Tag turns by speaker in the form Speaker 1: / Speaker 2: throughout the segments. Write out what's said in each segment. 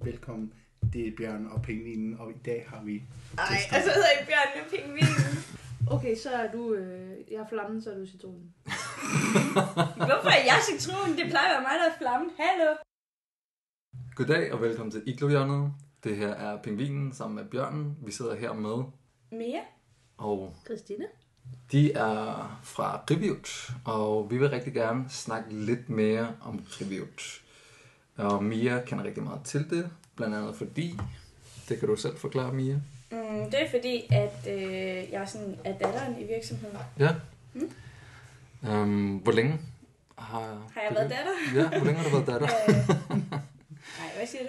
Speaker 1: Velkommen, det er Bjørn og Pengvinen, og i dag har vi...
Speaker 2: Nej,
Speaker 1: Testosteron.
Speaker 2: altså hedder ikke Bjørn med pingvinen. Okay, så er du... Øh, jeg er flammen, så er du citronen. Hvorfor er jeg citronen? Det plejer at være mig, der er flammen. Hallo.
Speaker 3: Goddag og velkommen til Iglohjørnet. Det her er Pingvinen sammen med Bjørnen. Vi sidder her med,
Speaker 2: Mia.
Speaker 3: og
Speaker 2: Christine.
Speaker 3: de er fra Tribute, og vi vil rigtig gerne snakke lidt mere om Tribute. Og Mia kender rigtig meget til det, blandt andet fordi, det kan du selv forklare, Mia.
Speaker 2: Mm, det er fordi, at øh, jeg er sådan er datteren i virksomheden.
Speaker 3: Ja. Mm. Øhm, hvor længe har,
Speaker 2: Har jeg
Speaker 3: Tribute-
Speaker 2: været datter?
Speaker 3: Ja, hvor længe har du været datter?
Speaker 2: Øh, Nej, hvad siger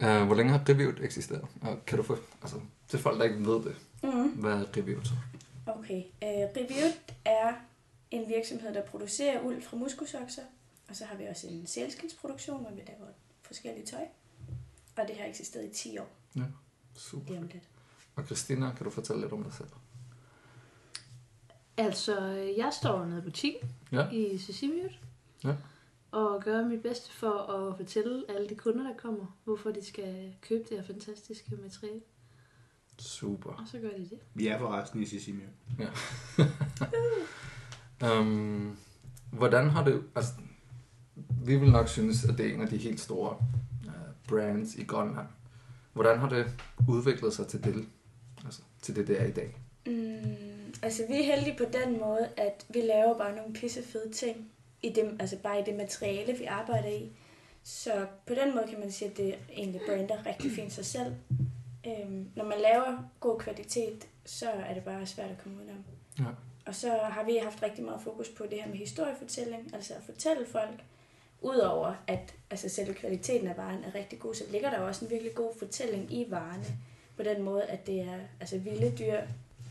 Speaker 2: du?
Speaker 3: øh, hvor længe har Tribute eksisteret? Og kan du få, altså, til folk, der ikke ved det,
Speaker 2: Mm.
Speaker 3: hvad er Tribute?
Speaker 2: Okay. Øh, Reviewed er en virksomhed, der producerer uld fra muskosokser. Og så har vi også en sælskindsproduktion, hvor vi laver forskellige tøj. Og det har eksisteret i 10 år.
Speaker 3: Super.
Speaker 2: Lige om lidt.
Speaker 3: Og Christina, kan du fortælle lidt om dig selv?
Speaker 4: Altså, jeg står nede i butikken
Speaker 3: Ja.
Speaker 4: ja. i Sisimiut.
Speaker 3: Ja.
Speaker 4: Og gør mit bedste for at fortælle alle de kunder, der kommer, hvorfor de skal købe det her fantastiske materiale.
Speaker 3: Super.
Speaker 4: Og så gør de det.
Speaker 1: Vi er forresten i Sisimio.
Speaker 3: Um, hvordan har det... Altså, vi vil nok synes, at det er en af de helt store uh, brands i Grønland. Hvordan har det udviklet sig til det, altså, til det, det er i dag?
Speaker 2: Mm, altså, vi er heldige på den måde, at vi laver bare nogle pissefede ting. I det, altså bare i det materiale, vi arbejder i. Så på den måde kan man sige, at det egentlig brander rigtig fint sig selv. Øhm, når man laver god kvalitet, så er det bare svært at komme udenom.
Speaker 3: Ja.
Speaker 2: Og så har vi haft rigtig meget fokus på det her med historiefortælling, altså at fortælle folk, udover at altså selve kvaliteten af varen er rigtig god, så ligger der jo også en virkelig god fortælling i varerne, på den måde, at det er altså vilde dyr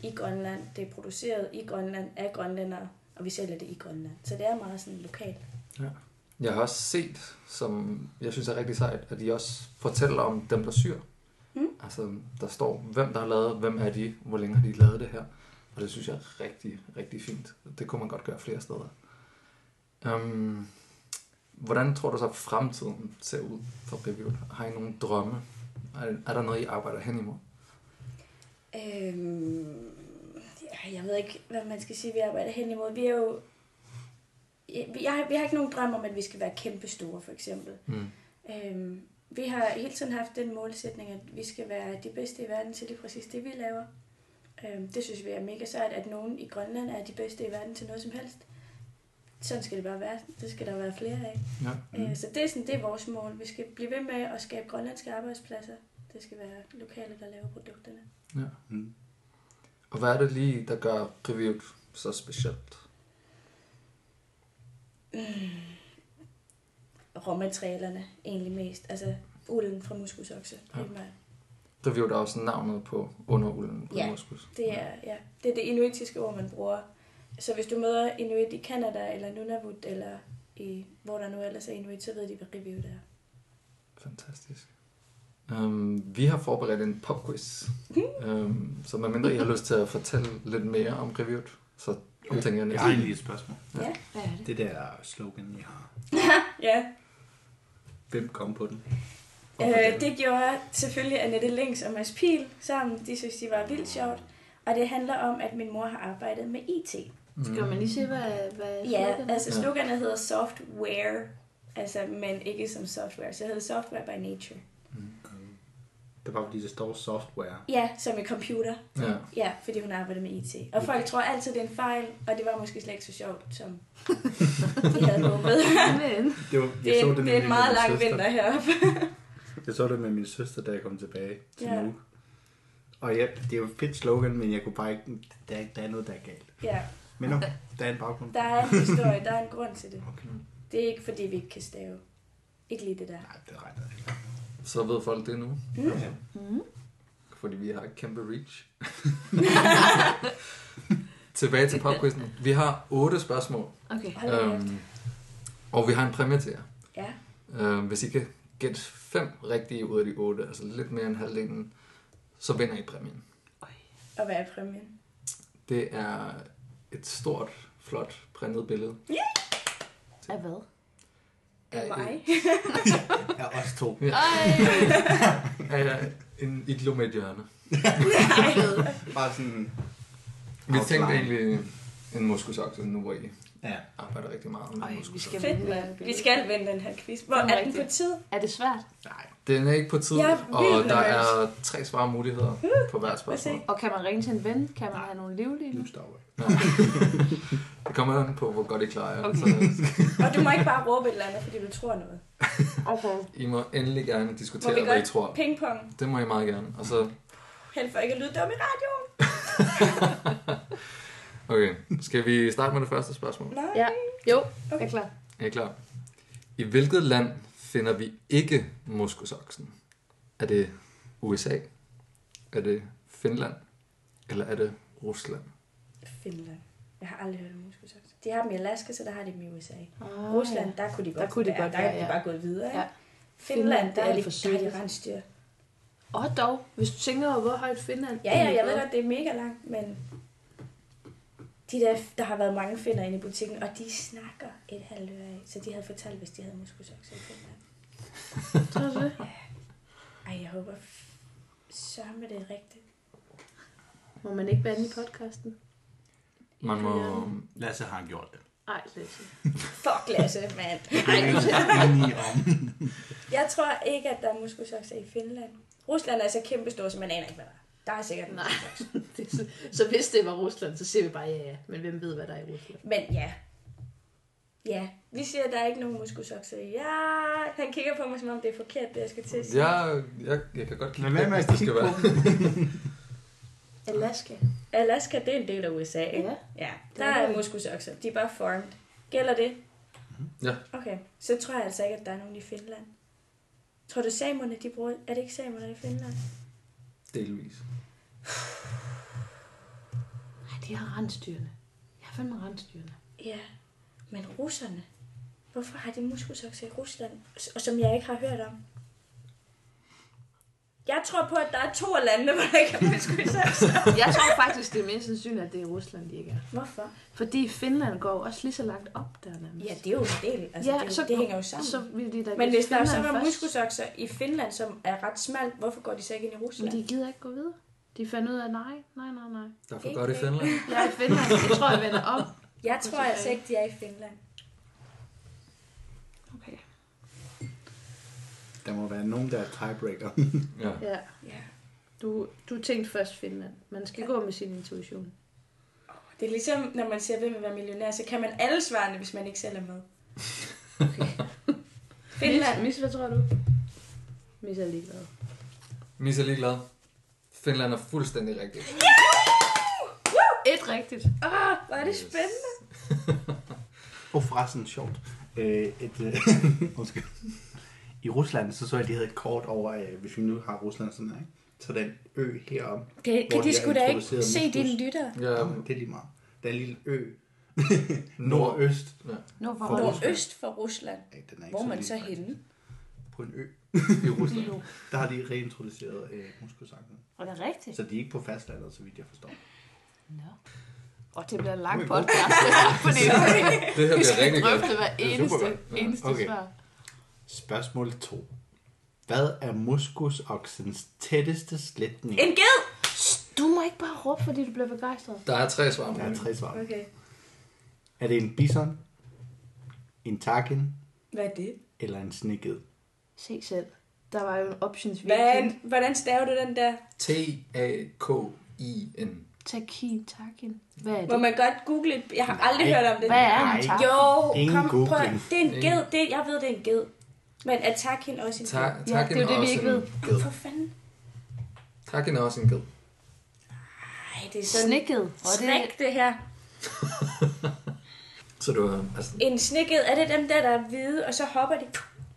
Speaker 2: i Grønland, det er produceret i Grønland af grønlændere, og vi sælger det i Grønland. Så det er meget sådan lokalt.
Speaker 3: Jeg har også set, som jeg synes er rigtig sejt, at de også fortæller om dem, der syr.
Speaker 2: Mm.
Speaker 3: Altså, der står, hvem der har lavet, hvem er de, hvor længe har de lavet det her. Og det synes jeg er rigtig, rigtig fint. Det kunne man godt gøre flere steder. Um, hvordan tror du så, at fremtiden ser ud for Review? Har I nogle drømme? Er, er der noget, I arbejder hen imod?
Speaker 2: Øhm, ja, jeg ved ikke, hvad man skal sige, vi arbejder hen imod. Vi er jo... Ja, vi- Jeg har, vi har ikke nogen drøm om, at vi skal være kæmpe store, for eksempel.
Speaker 3: Mm.
Speaker 2: Øhm, vi har hele tiden haft den målsætning, at vi skal være de bedste i verden til lige præcis det, vi laver. Øhm, det synes vi er mega sejt, at nogen i Grønland er de bedste i verden til noget som helst. Sådan skal det bare være. Det skal der være flere af.
Speaker 3: Ja.
Speaker 2: Mm. Øh, så det er, sådan, det er vores mål. Vi skal blive ved med at skabe grønlandske arbejdspladser. Det skal være lokale, der laver produkterne.
Speaker 1: Mm.
Speaker 3: Og hvad er det lige, der gør Review så specielt?
Speaker 2: råmaterialerne egentlig mest. Altså ulden fra muskelsokse.
Speaker 3: Ja.
Speaker 2: Ja.
Speaker 3: Review er også navnet på underulden på
Speaker 2: Ja,
Speaker 3: Moskus.
Speaker 2: Det, er, ja, det er det inuitiske ord, man bruger. Så hvis du møder inuit i Kanada eller Nunavut, eller i, hvor der nu ellers er inuit, så ved de, hvad review det er.
Speaker 3: Fantastisk. Um, vi har forberedt en popquiz, um, så medmindre I har lyst til at fortælle lidt mere om Reviewt, så omtænker jeg
Speaker 1: Jeg har
Speaker 3: næste.
Speaker 1: egentlig et spørgsmål.
Speaker 4: Hvad er det?
Speaker 1: Det der slogan, jeg har.
Speaker 2: Ja,
Speaker 1: Hvem kom på den?
Speaker 2: øh, det gjorde selvfølgelig Annette Links og Mads Pil sammen. De synes, de var vildt sjovt. Og det handler om, at min mor har arbejdet med IT.
Speaker 4: Skal man lige se, hvad, hvad
Speaker 2: Ja,
Speaker 4: sloganet er?
Speaker 2: altså
Speaker 3: Ja.
Speaker 2: sloganet hedder software, altså, men ikke som software. Så det hedder software by nature.
Speaker 1: Øhm, Det er bare fordi, det står software.
Speaker 2: Ja, som en computer.
Speaker 3: Ja.
Speaker 2: Ja, fordi hun arbejder med IT. Og folk tror altid, det er en fejl, og det var måske slet ikke så sjovt, som de havde håbet.
Speaker 4: Men,
Speaker 1: Det, var,
Speaker 2: Det er, det
Speaker 1: nemlig
Speaker 2: er en meget
Speaker 1: med min
Speaker 2: lang
Speaker 1: søster.
Speaker 2: vinter heroppe.
Speaker 1: Jeg så det med min søster, da jeg kom tilbage til
Speaker 2: Ja.
Speaker 1: ja. nu. Og ja, det er jo et fedt slogan, men jeg kunne bare ikke... Der, er- der er noget, der er galt.
Speaker 2: Ja,
Speaker 1: Men nu, der er en baggrund.
Speaker 2: der er en historie, der er en grund til det.
Speaker 1: Okay.
Speaker 2: Det er ikke, fordi vi ikke kan stave. Ikke lige det der.
Speaker 1: Nej, det regner ikke.
Speaker 3: Så ved folk det nu,
Speaker 2: Mm.
Speaker 1: Ja.
Speaker 4: mm,
Speaker 3: fordi vi har et kæmpe reach. Tilbage til popquizzen. Vi har otte spørgsmål,
Speaker 4: okay.
Speaker 2: Hold da kæft.
Speaker 1: Øhm.
Speaker 3: um, og vi har en præmie til jer.
Speaker 2: Ja,
Speaker 3: Um, hvis I kan gætte fem rigtige ud af de otte, altså lidt mere end halvdelen, så vinder I præmien.
Speaker 2: og hvad er præmien?
Speaker 3: Det er et stort, flot printet billede
Speaker 4: Af hvad?
Speaker 2: af
Speaker 1: øh.
Speaker 3: Ja,
Speaker 2: mig.
Speaker 1: Ja, os to.
Speaker 5: Ej,
Speaker 3: af en iglo med et hjørne.
Speaker 2: Nej.
Speaker 1: Bare sådan...
Speaker 3: Vi
Speaker 1: Outline.
Speaker 3: tænkte egentlig en muskusakse nu, hvor I
Speaker 1: Ja.
Speaker 3: arbejder rigtig meget
Speaker 1: Ej,
Speaker 3: med
Speaker 1: vi
Speaker 3: muskusakse.
Speaker 5: skal-
Speaker 2: Fedt, mand. Vi skal vinde den her quiz. Hvor er den på tid?
Speaker 5: er det svært?
Speaker 1: Nej.
Speaker 3: Den er ikke på tid,
Speaker 2: Jeg er
Speaker 3: og
Speaker 2: vildt
Speaker 3: der
Speaker 2: nervøs.
Speaker 3: er tre svarmuligheder på hvert spørgsmål.
Speaker 2: se.
Speaker 5: Og kan man ringe til en ven? Kan man have nogle livlige?
Speaker 1: Nu stopper jeg.
Speaker 3: Det kommer an på, hvor godt I klarer jer.
Speaker 5: Okay.
Speaker 3: Så
Speaker 2: Og du må ikke bare råbe et eller andet, fordi du tror noget.
Speaker 5: Okay.
Speaker 3: I må endelig gerne
Speaker 2: Må
Speaker 3: diskutere,
Speaker 2: vi
Speaker 3: hvad I
Speaker 2: godt?
Speaker 3: tror.
Speaker 2: Pingpong.
Speaker 3: Det må I meget gerne. Og så,
Speaker 2: Held for ikke at lyde dum i radioen.
Speaker 3: okay, skal vi starte med det første spørgsmål?
Speaker 2: Nej.
Speaker 5: Ja. Jo,
Speaker 2: Okay.
Speaker 5: okay. er klar.
Speaker 3: Er I klar? I hvilket land finder vi ikke moskusoksen? Er det USA? Er det Finland? Eller er det Rusland?
Speaker 2: Finland. Jeg har aldrig hørt om muskelsax. De har dem i Alaska, så der har de dem i USA.
Speaker 5: Oh,
Speaker 2: Rusland, der kunne de godt
Speaker 5: Der kunne de
Speaker 2: være.
Speaker 5: godt
Speaker 2: der
Speaker 5: være,
Speaker 2: er de
Speaker 5: ja.
Speaker 2: bare gået videre.
Speaker 5: Ja.
Speaker 2: Ja. Finland, der,
Speaker 5: der er
Speaker 2: er de,
Speaker 5: det for
Speaker 2: der har
Speaker 5: sydligt.
Speaker 2: de rensdyr.
Speaker 5: Og dog, hvis du tænker over, hvor højt Finland
Speaker 2: Ja, ja, jeg ved godt, det er mega langt, men de der, der har været mange finder inde i butikken, og de snakker et halvt øre af, så de havde fortalt, hvis de havde muskelsokser i Finland.
Speaker 5: Tror du det?
Speaker 2: Ej, jeg håber f- sørme det er rigtigt.
Speaker 5: Må man ikke bande i podcasten?
Speaker 3: Man må...
Speaker 1: Lasse har gjort det.
Speaker 5: Ej, Lasse.
Speaker 2: Fuck, Lasse, mand.
Speaker 1: Ej, det er enige om.
Speaker 2: Jeg tror ikke, at der er muskelsokser i Finland. Rusland er så kæmpestor, så man aner ikke, hvad der er. Der er sikkert
Speaker 5: Nej. Det er så, så hvis det var Rusland, så siger vi bare ja, ja. Men hvem ved, hvad der er i Rusland?
Speaker 2: Men ja. Ja, vi siger, at der er ikke nogen muskelsokser i. Ja, han kigger på mig, som om det er forkert, det jeg skal til at sige.
Speaker 3: Jeg, jeg, jeg kan godt
Speaker 1: Lad være med at
Speaker 3: det
Speaker 1: kigge
Speaker 3: skal
Speaker 1: på
Speaker 3: være.
Speaker 5: Alaska.
Speaker 2: Alaska, det er en del af USA, ikke?
Speaker 5: Ja.
Speaker 2: ja
Speaker 5: Det
Speaker 2: der
Speaker 5: er det.
Speaker 2: er muskelsokser. De er bare formed. Gælder det?
Speaker 3: Ja.
Speaker 2: Okay, så tror jeg altså ikke, at der er nogen i Finland. Tror du, samerne, de bruger... Er det ikke samerne i Finland?
Speaker 3: Delvis.
Speaker 5: Nej, de har rensdyrene. Jeg har fandme rensdyrene.
Speaker 2: Ja, men russerne? Hvorfor har de muskelsokser i Rusland, s- og som jeg ikke har hørt om? Jeg tror på, at der er to af landene, hvor der ikke er muskelsokser.
Speaker 5: Jeg tror faktisk, det er mest sandsynligt, at det er Rusland, de ikke er.
Speaker 2: Hvorfor?
Speaker 5: Fordi Finland går jo også lige så langt op der nærmest.
Speaker 2: Ja, det er jo en del. Altså, ja, det, er jo, så, det hænger jo sammen.
Speaker 5: Så
Speaker 2: Så,
Speaker 5: vil de da
Speaker 2: men
Speaker 5: gå
Speaker 2: hvis der så
Speaker 5: Finland
Speaker 2: var
Speaker 5: først.
Speaker 2: muskelsokser i Finland, som er ret smalt, hvorfor går de så ikke ind i
Speaker 5: Men
Speaker 2: Rusland?
Speaker 5: de gider ikke gå videre. De fandt ud af, nej, nej, nej, nej.
Speaker 3: Der er for godt i Finland.
Speaker 5: Jeg er i Finland. Jeg tror, jeg vender om.
Speaker 2: Jeg tror altså ikke, de er i Finland.
Speaker 5: Okay.
Speaker 1: Der må være nogen, der er tiebreaker.
Speaker 3: Ja.
Speaker 5: Ja.
Speaker 2: Ja.
Speaker 5: Du, du tænkte først Finland. Man skal gå med sin intuition.
Speaker 2: Det er ligesom, når man siger, hvem vil være millionær, så kan man alle svarene, hvis man ikke selv er med. Finland.
Speaker 5: Mis, mis hvad tror du? Mis er ligeglad.
Speaker 3: Mis er ligeglad. Finland er fuldstændig rigtig.
Speaker 5: Et rigtigt.
Speaker 2: Åh, Ah, hvor er det spændende.
Speaker 1: Og forresten sjovt. Øh, et, øh, undskyld. I Rusland, så så jeg, de havde et kort over, øh, hvis vi nu har Rusland sådan her, ikke? Så den ø herom.
Speaker 2: Kan,
Speaker 1: Hvor de har introduceret muskus.
Speaker 2: lyttere?
Speaker 3: Ja,
Speaker 1: Ja. Det er lige meget. Der er en lille ø.
Speaker 3: nord.
Speaker 1: Nordøst.
Speaker 5: Nu var
Speaker 1: For Rusland.
Speaker 2: Nordøst for Rusland.
Speaker 1: Ja, den er ikke
Speaker 2: Hvor er man
Speaker 1: lille,
Speaker 2: så
Speaker 1: faktisk.
Speaker 2: henne?
Speaker 1: På en ø.
Speaker 3: I Rusland.
Speaker 1: Der har de reintroduceret øh, muskelsangen.
Speaker 5: Og det er rigtigt.
Speaker 1: Så de er ikke på fastlandet, så vidt jeg forstår.
Speaker 5: Nå. Og det bliver en lang
Speaker 1: Okay, god.
Speaker 5: podcast, det her, fordi
Speaker 3: Det her
Speaker 5: vi
Speaker 3: bliver
Speaker 5: skal
Speaker 3: rigtig godt.
Speaker 5: drøfte hver
Speaker 1: Det er
Speaker 5: eneste,
Speaker 1: supergodt.
Speaker 3: Ja,
Speaker 5: eneste
Speaker 1: okay.
Speaker 5: svar.
Speaker 1: Spørgsmål 2. Hvad er muskusoksens tætteste slætning?
Speaker 2: En ged!
Speaker 5: Du må ikke bare råbe, fordi du bliver begejstret.
Speaker 3: Der er tre svar.
Speaker 1: Der er tre svar.
Speaker 2: Okay.
Speaker 1: Er det en bison, en takin
Speaker 2: Hvad er det?
Speaker 1: eller en sneged?
Speaker 5: Se selv. Der var jo en options vi
Speaker 2: Hvad,
Speaker 5: kendte.
Speaker 2: hvordan staver du den der?
Speaker 3: T-A-K-I-N.
Speaker 5: Takin, takin. Hvad er
Speaker 2: Må
Speaker 5: det?
Speaker 2: man godt google et- Jeg har aldrig
Speaker 1: Nej.
Speaker 2: hørt om det.
Speaker 5: Hvad er
Speaker 1: Nej.
Speaker 5: en tak?
Speaker 2: Jo,
Speaker 1: Ingen
Speaker 2: kom, prøv.
Speaker 1: googling.
Speaker 2: at- Det er en
Speaker 3: Ingen.
Speaker 2: ged. Det, jeg ved, det er en ged. Men er tak hende også en ged?
Speaker 3: Ta- takken
Speaker 5: det er jo det, vi
Speaker 3: også
Speaker 5: ikke
Speaker 3: en
Speaker 5: ved.
Speaker 3: ged.
Speaker 2: For fanden.
Speaker 3: Takken er også en ged.
Speaker 2: Ej, det er sådan
Speaker 5: Snikket. Og det
Speaker 2: strik, det her.
Speaker 3: Så du har... Altså,
Speaker 2: En sneged, er det dem der, der er hvide, og så hopper de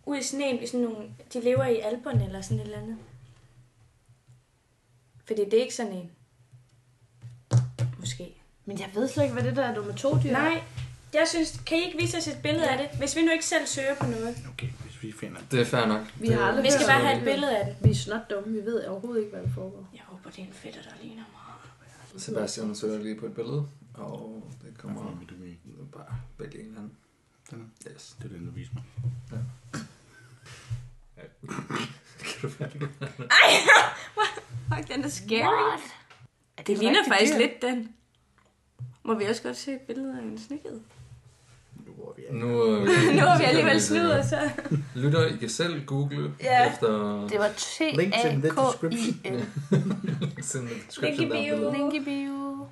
Speaker 2: ud i sneen i sådan nogle... De lever i alberne eller sådan et eller andet. Fordi det er ikke sådan en. Måske.
Speaker 5: Men jeg ved slet ikke, hvad det der er nummer to dyr. er.
Speaker 2: Nej, jeg synes... Kan I ikke vise os et billede af det? Hvis vi nu ikke selv søger på noget.
Speaker 1: Okay, hvis vi finder
Speaker 3: det er fair nok.
Speaker 5: Vi
Speaker 3: Det-
Speaker 5: har aldrig
Speaker 2: Vi skal
Speaker 5: hørt
Speaker 2: bare
Speaker 5: om
Speaker 2: have
Speaker 5: det.
Speaker 2: et billede af det.
Speaker 5: Vi er snot dumme. Vi ved overhovedet ikke, hvad der foregår.
Speaker 2: Jeg håber, det er en fætter, der ligner mig.
Speaker 3: Sebastian søger lige på et billede, og det kommer...
Speaker 1: du
Speaker 3: Bare vælg en eller anden.
Speaker 1: Den er,
Speaker 3: Yes.
Speaker 1: det er den, du viser mig.
Speaker 3: Kan du være det?
Speaker 2: Fuck, den er scary. What? Det, det ligner faktisk dyr. lidt den. Må vi også godt se et billede af en snikket?
Speaker 1: Nu hvor vi er.
Speaker 3: Nu, øh,
Speaker 2: nu har vi alligevel sludret, så...
Speaker 3: Lytter, I kan selv google
Speaker 2: Ja.
Speaker 3: efter...
Speaker 5: Det var t
Speaker 1: Links in the
Speaker 5: a k i
Speaker 1: description.
Speaker 5: l
Speaker 3: Send en
Speaker 2: Link i
Speaker 3: description der
Speaker 2: bio.
Speaker 3: er billedet.
Speaker 5: Link i bio.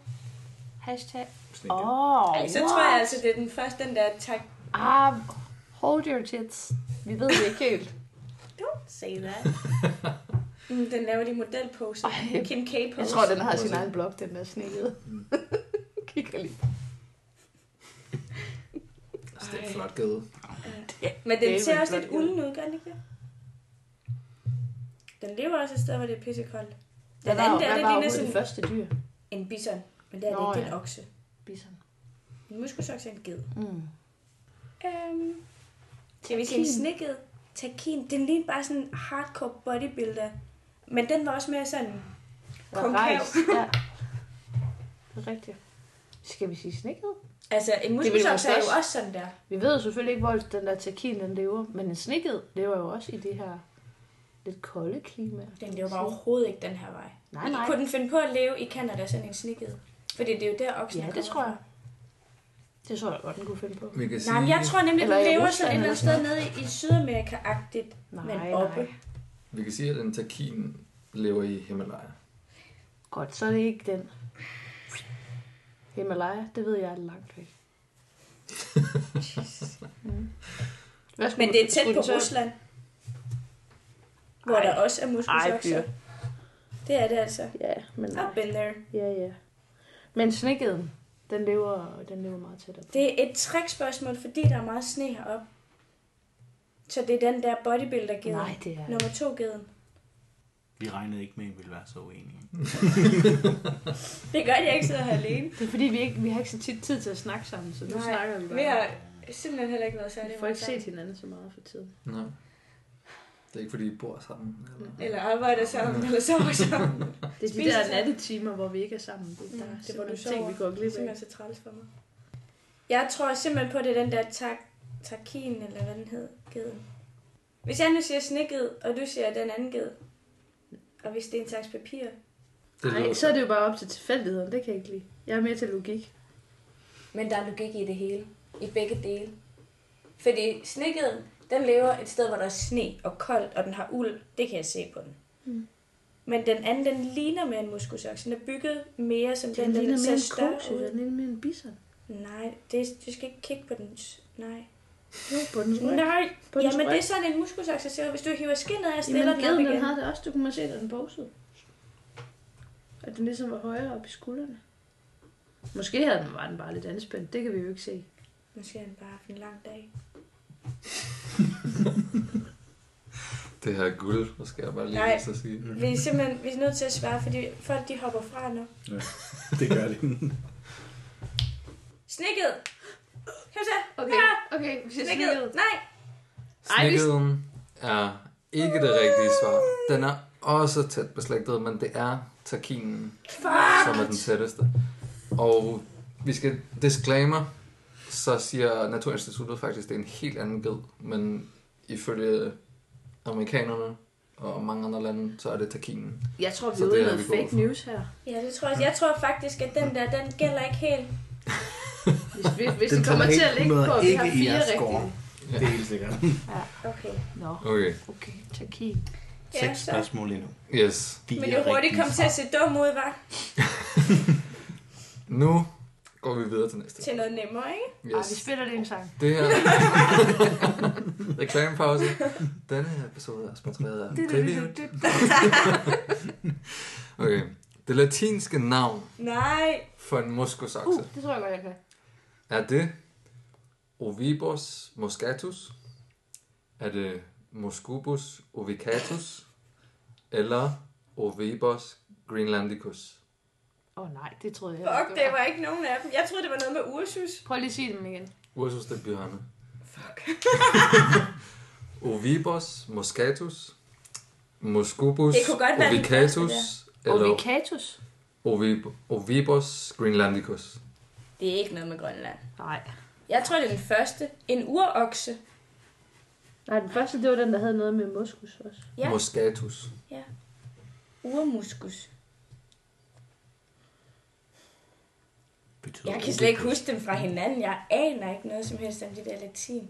Speaker 5: Hashtag.
Speaker 1: Sneak in.
Speaker 5: Åh, oh,
Speaker 2: Ej, så tror jeg altså, det er den første, den der tak.
Speaker 5: Ah, hold your tits. Vi ved det ikke helt.
Speaker 2: Don't say that. Mm, den laver lige modelpose.
Speaker 5: Ej,
Speaker 2: Kim K. pose.
Speaker 5: Jeg tror, den har sin egen blog, den der snekket.
Speaker 2: Mm.
Speaker 5: Kigger lige.
Speaker 3: Altså, det er en flot gade.
Speaker 2: Men den
Speaker 5: Det er
Speaker 2: ser
Speaker 5: vel
Speaker 2: også lidt
Speaker 5: flot, ja.
Speaker 2: ulden ud, gør den ikke det? Den lever også et sted, hvor det er pissekoldt.
Speaker 5: Hvad
Speaker 2: Den
Speaker 5: var,
Speaker 2: anden
Speaker 5: hvad
Speaker 2: der, det ligner
Speaker 5: var overhovedet det
Speaker 2: sådan
Speaker 5: første dyr?
Speaker 2: en bison. Men det er
Speaker 5: Nå,
Speaker 2: det ikke, det er
Speaker 5: ja.
Speaker 2: en okse.
Speaker 5: Bison.
Speaker 2: En muskelsokse er en ged.
Speaker 5: Mm.
Speaker 2: Øhm, skal vi sige en snikket? Takin. Den lignede bare sådan en hardcore bodybuilder. Men den var også mere sådan...
Speaker 5: Eller
Speaker 2: Konkav.
Speaker 5: rejs. Ja. Det er rigtigt. Skal vi sige snikket?
Speaker 2: Altså, en
Speaker 5: ville
Speaker 2: muskelsokse er
Speaker 5: måske
Speaker 2: jo
Speaker 5: også-
Speaker 2: også sådan der.
Speaker 5: Vi ved jo selvfølgelig ikke, hvor den der takin den lever, men en snikket lever jo også i det her lidt kolde klima.
Speaker 2: Den lever bare overhovedet ikke den her vej.
Speaker 5: Nej, nej.
Speaker 2: Kunne den finde på at leve i Canada sådan en snikket? Fordi det er jo der, oksen
Speaker 5: Ja, det tror jeg. Det tror jeg godt, den kunne finde på.
Speaker 3: Vi kan sige,
Speaker 2: Nej, men jeg tror nemlig, at
Speaker 5: Eller
Speaker 2: den
Speaker 5: i
Speaker 2: lever
Speaker 5: Rusland
Speaker 2: sådan et eller andet
Speaker 5: eller
Speaker 2: sted nede i, i Sydamerika-agtigt.
Speaker 5: Nej,
Speaker 2: Men oppe.
Speaker 5: nej.
Speaker 3: vi kan sige, at en takin lever i Himalaya.
Speaker 5: Godt, så er det ikke den. Himalaya, det ved jeg er langt væk. Mm. Hvad skulle-
Speaker 2: Men det er tæt
Speaker 5: skulle
Speaker 2: på
Speaker 5: den så-
Speaker 2: Rusland. Hvor
Speaker 5: Ej.
Speaker 2: der også er muskelsokser.
Speaker 5: Ej,
Speaker 2: Det er det altså.
Speaker 5: Ja, men nej.
Speaker 2: I've been there.
Speaker 5: Ja, ja. Men snikkeden, den lever, den lever meget tættere på.
Speaker 2: Det er et trickspørgsmål, fordi der er meget sne heroppe. Så det er den der bodybuilder geden
Speaker 5: Nej, det er
Speaker 2: Nummer to geden.
Speaker 1: Vi regnede ikke med, at vi ville være så uenige.
Speaker 2: Det gør, at jeg ikke sidder her alene.
Speaker 5: Det er fordi, vi, ikke, vi har ikke så tit tid til at snakke sammen, så nu
Speaker 2: Nej,
Speaker 5: snakker vi bare.
Speaker 2: Vi har simpelthen heller ikke været særlig
Speaker 5: Vi får ikke
Speaker 2: meget
Speaker 5: set hinanden så meget for tiden.
Speaker 3: Nej. Det er ikke, fordi I bor sammen. Eller...
Speaker 2: sammen. Eller arbejder sammen, eller sover sammen.
Speaker 5: Det er de
Speaker 2: Spiser
Speaker 5: der
Speaker 2: sammen.
Speaker 5: nattetimer, hvor vi ikke er sammen. Det,
Speaker 2: Mm,
Speaker 5: der er
Speaker 2: det er, hvor du
Speaker 5: simpelthen ting,
Speaker 2: sover.
Speaker 5: vi går
Speaker 2: Det er
Speaker 5: glip af.
Speaker 2: simpelthen så træls for mig. Jeg tror simpelthen på, at det er den der tak, takin, eller hvad den hed, geden. Hvis jeg nu siger sneged, og du siger den anden ged, og hvis det er en slags papir,
Speaker 3: Det lyder
Speaker 5: Nej, så er det jo bare op til tilfældigheden. Det kan jeg ikke lide. Jeg er mere til logik.
Speaker 2: Men der er logik i det hele. I begge dele. Fordi snikkeden, den lever et sted, hvor der er sne og koldt, og den har uld. Det kan jeg se på den.
Speaker 5: Mm.
Speaker 2: Men den anden, den ligner mere en muskelsoks. Den er bygget mere som den, den, den ser større ud.
Speaker 5: Den ligner mere en bison.
Speaker 2: Nej, det, du skal ikke kigge på den. Nej.
Speaker 5: Jo, på den ryg.
Speaker 2: Nej,
Speaker 5: På den
Speaker 2: jamen
Speaker 5: ryg.
Speaker 2: det er sådan en muskelsoks, jeg ser ud. Hvis du hiver skinnet af, stiller
Speaker 5: Jamen,
Speaker 2: den op
Speaker 5: geden,
Speaker 2: igen.
Speaker 5: den havde det også. Du kunne man se, da den posede. At den ligesom var højere op i skuldrene. Måske havde den, var den bare lidt anspændt. Det kan vi jo ikke se.
Speaker 2: Måske har den bare haft en lang dag.
Speaker 3: det her er guld, og skal jeg bare lige
Speaker 2: Nej.
Speaker 3: Nej. så sige.
Speaker 1: Mhm.
Speaker 2: Vi er simpelthen vi er nødt til at svare, fordi folk de hopper fra nu.
Speaker 1: Det gør det.
Speaker 2: Snikket! Kom så!
Speaker 5: Okay, okay. Vi ser
Speaker 2: Snikket! Nej!
Speaker 5: Ej, vi-
Speaker 3: Snikkeden er ikke det rigtige svar. Den er også tæt beslægtet, men det er takinen, som er den tætteste. Og vi skal disclaimer, så siger Naturinstituttet faktisk, at det er en helt anden ged, men ifølge amerikanerne og mange andre lande, så er det takinen.
Speaker 5: Jeg tror, vi
Speaker 3: Så
Speaker 5: er ude
Speaker 3: det
Speaker 5: i
Speaker 3: er
Speaker 5: noget
Speaker 3: vi gode
Speaker 5: fake
Speaker 3: for.
Speaker 5: news her.
Speaker 2: Ja, det tror jeg. også. Jeg tror faktisk, at den der, den gælder ikke helt.
Speaker 5: Hvis, hvis, hvis
Speaker 1: Den
Speaker 5: det kommer
Speaker 1: kommer
Speaker 5: til at
Speaker 1: ikke-
Speaker 5: ligge på, at vi
Speaker 1: ikke
Speaker 5: har
Speaker 1: i
Speaker 5: fire
Speaker 1: jeres score.
Speaker 5: rigtige.
Speaker 1: Det er helt sikkert.
Speaker 2: Okay.
Speaker 5: Nå,
Speaker 3: Okay.
Speaker 5: okay. Takin.
Speaker 1: Seks spørgsmål endnu.
Speaker 3: Yes.
Speaker 1: De
Speaker 2: Men
Speaker 1: er
Speaker 2: det er hurtigt
Speaker 1: rigtige
Speaker 2: kom til at se dum ud, var
Speaker 3: Nu går vi videre til næste.
Speaker 2: Til noget nemmere, ikke?
Speaker 5: Ej, Ah, vi
Speaker 3: Yes.
Speaker 5: spiller lige en sang.
Speaker 3: Det her... Reklamepause. Denne her episode er sponsoreret af Preview. Okay. Det latinske navn
Speaker 2: Nej.
Speaker 3: for en
Speaker 5: Uh,
Speaker 3: muskosakse
Speaker 5: det tror jeg godt, jeg kan.
Speaker 3: er det Ovibos moscatus? Er det Muscubus ovicatus? Eller Ovibos greenlandicus?
Speaker 5: Åh oh, nej, det troede jeg heller
Speaker 2: Fuck,
Speaker 5: ikke,
Speaker 2: det var ikke nogen af dem. Jeg troede, det var noget med Ursus.
Speaker 5: Prøv lige at sige dem igen.
Speaker 3: Ursus det er bjørne. Fuck. Ovibos moscatus, Muscubus
Speaker 2: Det kunne godt være den
Speaker 3: ovicatus, eller
Speaker 5: Ovicatus?
Speaker 3: Ovib- Ovibos greenlandicus.
Speaker 2: Det er ikke noget med Grønland.
Speaker 5: Nej.
Speaker 2: Jeg tror, det er den første. En urokse.
Speaker 6: Nej, den første, det var den, der havde noget med moskus også.
Speaker 2: Ja.
Speaker 3: Moscatus.
Speaker 2: Urmuskus.
Speaker 3: Betyder
Speaker 2: Jeg kan slet ikke
Speaker 3: ulekus.
Speaker 2: huske dem fra hinanden. Jeg aner ikke noget som helst om det der latin.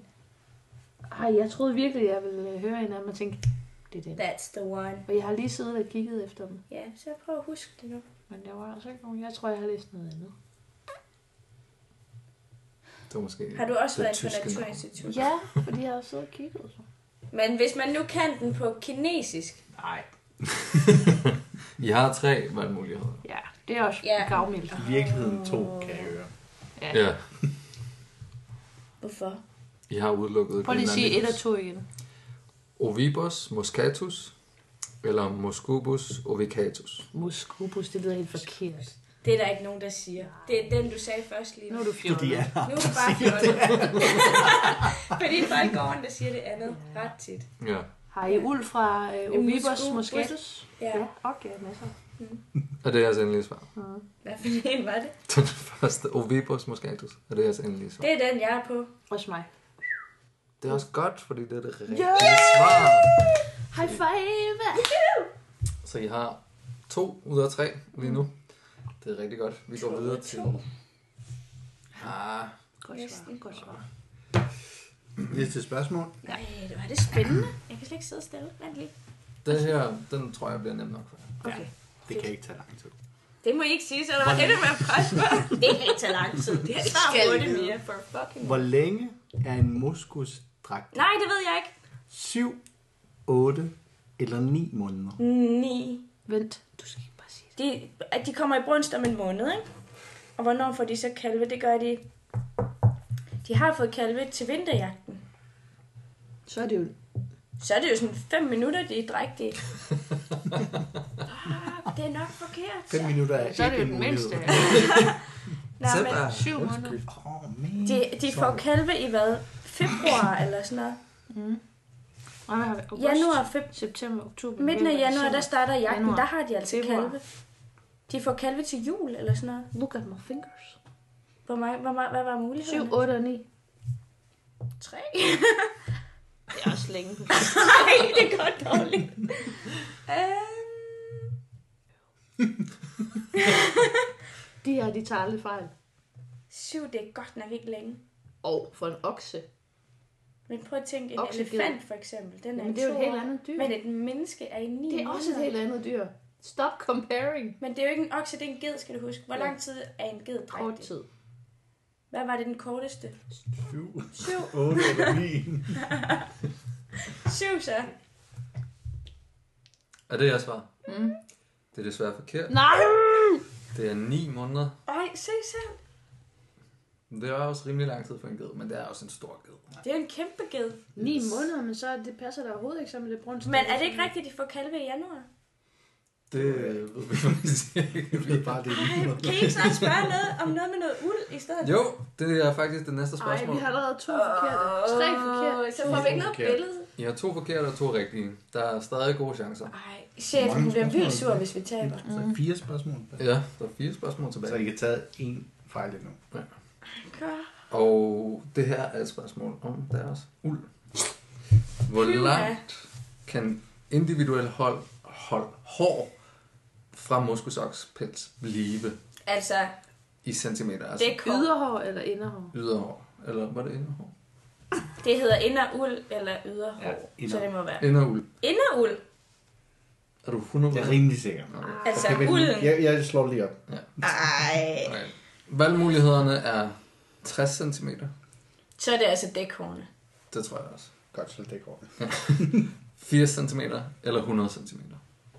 Speaker 5: Ej, jeg troede virkelig, jeg ville øh, høre en af dem og tænke, det er den.
Speaker 2: That's the one.
Speaker 5: Og jeg har lige siddet og kigget efter dem.
Speaker 2: Ja, så prøv at huske det nu.
Speaker 5: Men der var altså ikke nogen. Jeg tror, jeg har læst noget andet.
Speaker 3: Det var måske...
Speaker 2: Har du også
Speaker 3: Det
Speaker 2: været på
Speaker 3: tyske navn.
Speaker 2: Naturinstitut?
Speaker 5: Ja, fordi jeg har siddet og kigget. Så.
Speaker 2: Men hvis man nu kan den på kinesisk,
Speaker 3: Nej. I har tre valgmuligheder.
Speaker 5: Ja, det er også
Speaker 2: Ja.
Speaker 5: ja. gavmildt.
Speaker 1: I virkeligheden to, kan jeg høre.
Speaker 5: Ja.
Speaker 3: Ja.
Speaker 2: hvorfor?
Speaker 3: I har udelukket...
Speaker 5: Prøv lige at sige et
Speaker 3: Grenlandicus.
Speaker 5: og to igen.
Speaker 3: Ovibos moscatus eller Moscobus ovicatus.
Speaker 5: Muscopus, det lyder helt forkert.
Speaker 2: Det er der ikke nogen, der siger. Det er den, du sagde først lige.
Speaker 5: Nu
Speaker 2: Nu
Speaker 5: er du
Speaker 1: Fordi
Speaker 5: fjollet.
Speaker 1: jeg har
Speaker 2: er du bare fjollet. Fordi folk går rundt og siger det andet ret tit.
Speaker 3: Ja.
Speaker 5: Har I uld fra øh,
Speaker 2: En
Speaker 5: Omibus
Speaker 2: muscopus.
Speaker 5: moscatus?
Speaker 2: Ja,
Speaker 5: Ja, okay, masser.
Speaker 3: Og det er jeres endelige svar.
Speaker 2: hvad for en var det?
Speaker 3: Den første, Ovibos moscatus, og det er jeres endelige svar.
Speaker 2: Det er den, jeg er på.
Speaker 5: Også mig.
Speaker 3: Det er også godt, fordi det er det rigtige
Speaker 5: Yeah!
Speaker 3: svar.
Speaker 5: High five!
Speaker 3: Så I har to ud af tre lige nu. Det er rigtig godt. Vi går videre til... Ah,
Speaker 5: Godt svar. Godt svar.
Speaker 1: næste spørgsmål.
Speaker 2: Nej, det var det spændende. Jeg kan slet ikke sidde stille. Vent lige.
Speaker 3: den her, den tror jeg bliver nem nok for jer.
Speaker 5: Okay.
Speaker 1: Det kan ikke tage lang tid.
Speaker 2: Det må I ikke sige, så der var endnu mere pres på. Det kan ikke tage lang tid. Det er svar hurtigt mere for fucking...
Speaker 1: Hvor længe er en moskusdragt?
Speaker 2: Nej, det ved jeg ikke.
Speaker 1: 7, 8 eller 9 måneder?
Speaker 2: 9.
Speaker 5: Vent, du skal ikke bare sige det.
Speaker 2: De, at de kommer i brunst om en måned, ikke? Og hvornår får de så kalve? Det gør de... De har fået kalve til vinterjagten.
Speaker 5: Så er det jo...
Speaker 2: Så er det jo sådan 5 minutter, de er drægtige. ah, det er nok forkert.
Speaker 1: 5 minutter er
Speaker 5: Så er det
Speaker 1: ikke
Speaker 5: jo
Speaker 1: en
Speaker 5: den
Speaker 1: mulighed.
Speaker 5: mindste.
Speaker 2: Nå,
Speaker 3: Sæt
Speaker 2: men
Speaker 3: dig.
Speaker 5: Syv måneder.
Speaker 1: Åh, oh, man.
Speaker 2: de, de får kalve i hvad? Februar eller sådan noget.
Speaker 5: Nej, hvad har vi? August,
Speaker 2: Januar, feb...
Speaker 5: september, oktober.
Speaker 2: midten af
Speaker 5: november,
Speaker 2: januar, der
Speaker 5: december.
Speaker 2: starter jagten.
Speaker 5: Januar.
Speaker 2: Der har de altså
Speaker 5: Februar.
Speaker 2: kalve. De får kalve til jul eller sådan noget.
Speaker 5: Look at my fingers.
Speaker 2: Hvor meget, hvor meget, hvad var
Speaker 5: 7,
Speaker 2: muligheden?
Speaker 5: 8 og 9.
Speaker 2: 3.
Speaker 5: Det er også længe.
Speaker 2: Nej, det går dårligt. Øhm,
Speaker 5: De her, de tager aldrig fejl.
Speaker 2: 7, det er godt nok ikke længe.
Speaker 5: Og for en okse.
Speaker 2: Men prøv at tænke, en
Speaker 5: Oksegider.
Speaker 2: elefant for eksempel, den er
Speaker 5: Men
Speaker 2: i
Speaker 5: det er jo
Speaker 2: to
Speaker 5: et helt
Speaker 2: år.
Speaker 5: andet dyr.
Speaker 2: Men et menneske er i 9
Speaker 5: Det er også et
Speaker 2: måneder.
Speaker 5: helt andet dyr. Stop comparing.
Speaker 2: Men det er jo ikke en okse, det er en ged, skal du huske. Hvor
Speaker 5: Ja.
Speaker 2: lang tid er en ged
Speaker 5: Kort
Speaker 2: drægtig?
Speaker 5: tid.
Speaker 2: Hvad var det den korteste?
Speaker 1: 7,
Speaker 2: Syv.
Speaker 1: 8 eller 9.
Speaker 2: Syv så.
Speaker 3: Er det jeres svar? Mm. Det er desværre forkert.
Speaker 5: Nej!
Speaker 3: Det er 9 måneder.
Speaker 2: Ej, se selv.
Speaker 3: Men Det er også rimelig lang tid for en ged, men det er også en stor ged.
Speaker 2: Det er en kæmpe ged.
Speaker 5: 9 måneder, men så det passer der overhovedet ikke sammen med det brunst.
Speaker 2: Men er det ikke rigtigt, at de får kalve i januar?
Speaker 3: Det øh, ved vi faktisk
Speaker 1: Det er
Speaker 3: ikke.
Speaker 1: bare det.
Speaker 2: Ej, kan I ikke snart spørge noget om noget med noget uld i stedet?
Speaker 3: Jo, det er faktisk det næste
Speaker 5: Nej,
Speaker 3: spørgsmål.
Speaker 5: vi har allerede to forkerte. Tre forkerte.
Speaker 2: Så får vi ikke noget
Speaker 1: Forkert.
Speaker 2: billede.
Speaker 3: I har to forkerte og to rigtige. Der er stadig gode chancer.
Speaker 2: Ej, chef, hun bliver vildt sur, hvis vi taber.
Speaker 1: Så fire spørgsmål.
Speaker 3: Ja, der er fire spørgsmål
Speaker 1: Så I
Speaker 3: tilbage.
Speaker 1: kan tage en fejl endnu.
Speaker 3: Og det her er et spørgsmål om deres uld. Hvor
Speaker 2: Flyv, ja.
Speaker 3: langt kan individuelle hold, hold hår fra moskusokspels blive
Speaker 2: Altså,
Speaker 3: i centimeter?
Speaker 2: det
Speaker 3: Altså
Speaker 2: er kår.
Speaker 5: Yderhår eller inderhår?
Speaker 3: yderhår. Eller var det inderhår?
Speaker 2: Det hedder inderuld eller yderhår.
Speaker 1: Ja,
Speaker 2: Ja, så
Speaker 1: inderuld.
Speaker 2: det må være.
Speaker 3: Inderuld.
Speaker 2: Inderuld.
Speaker 3: Er du
Speaker 1: Jeg
Speaker 3: 100
Speaker 1: er rimelig sikker.
Speaker 2: Altså
Speaker 1: Okay,
Speaker 2: okay,
Speaker 1: vent lige.
Speaker 2: ulden.
Speaker 1: jeg, jeg slår det lige op.
Speaker 2: Ej.
Speaker 3: Okay. Valgmulighederne er 60 cm.
Speaker 2: Så er det altså dækhårene.
Speaker 3: Det tror jeg også.
Speaker 1: Godt, så det går.
Speaker 3: 80 cm eller 100 cm.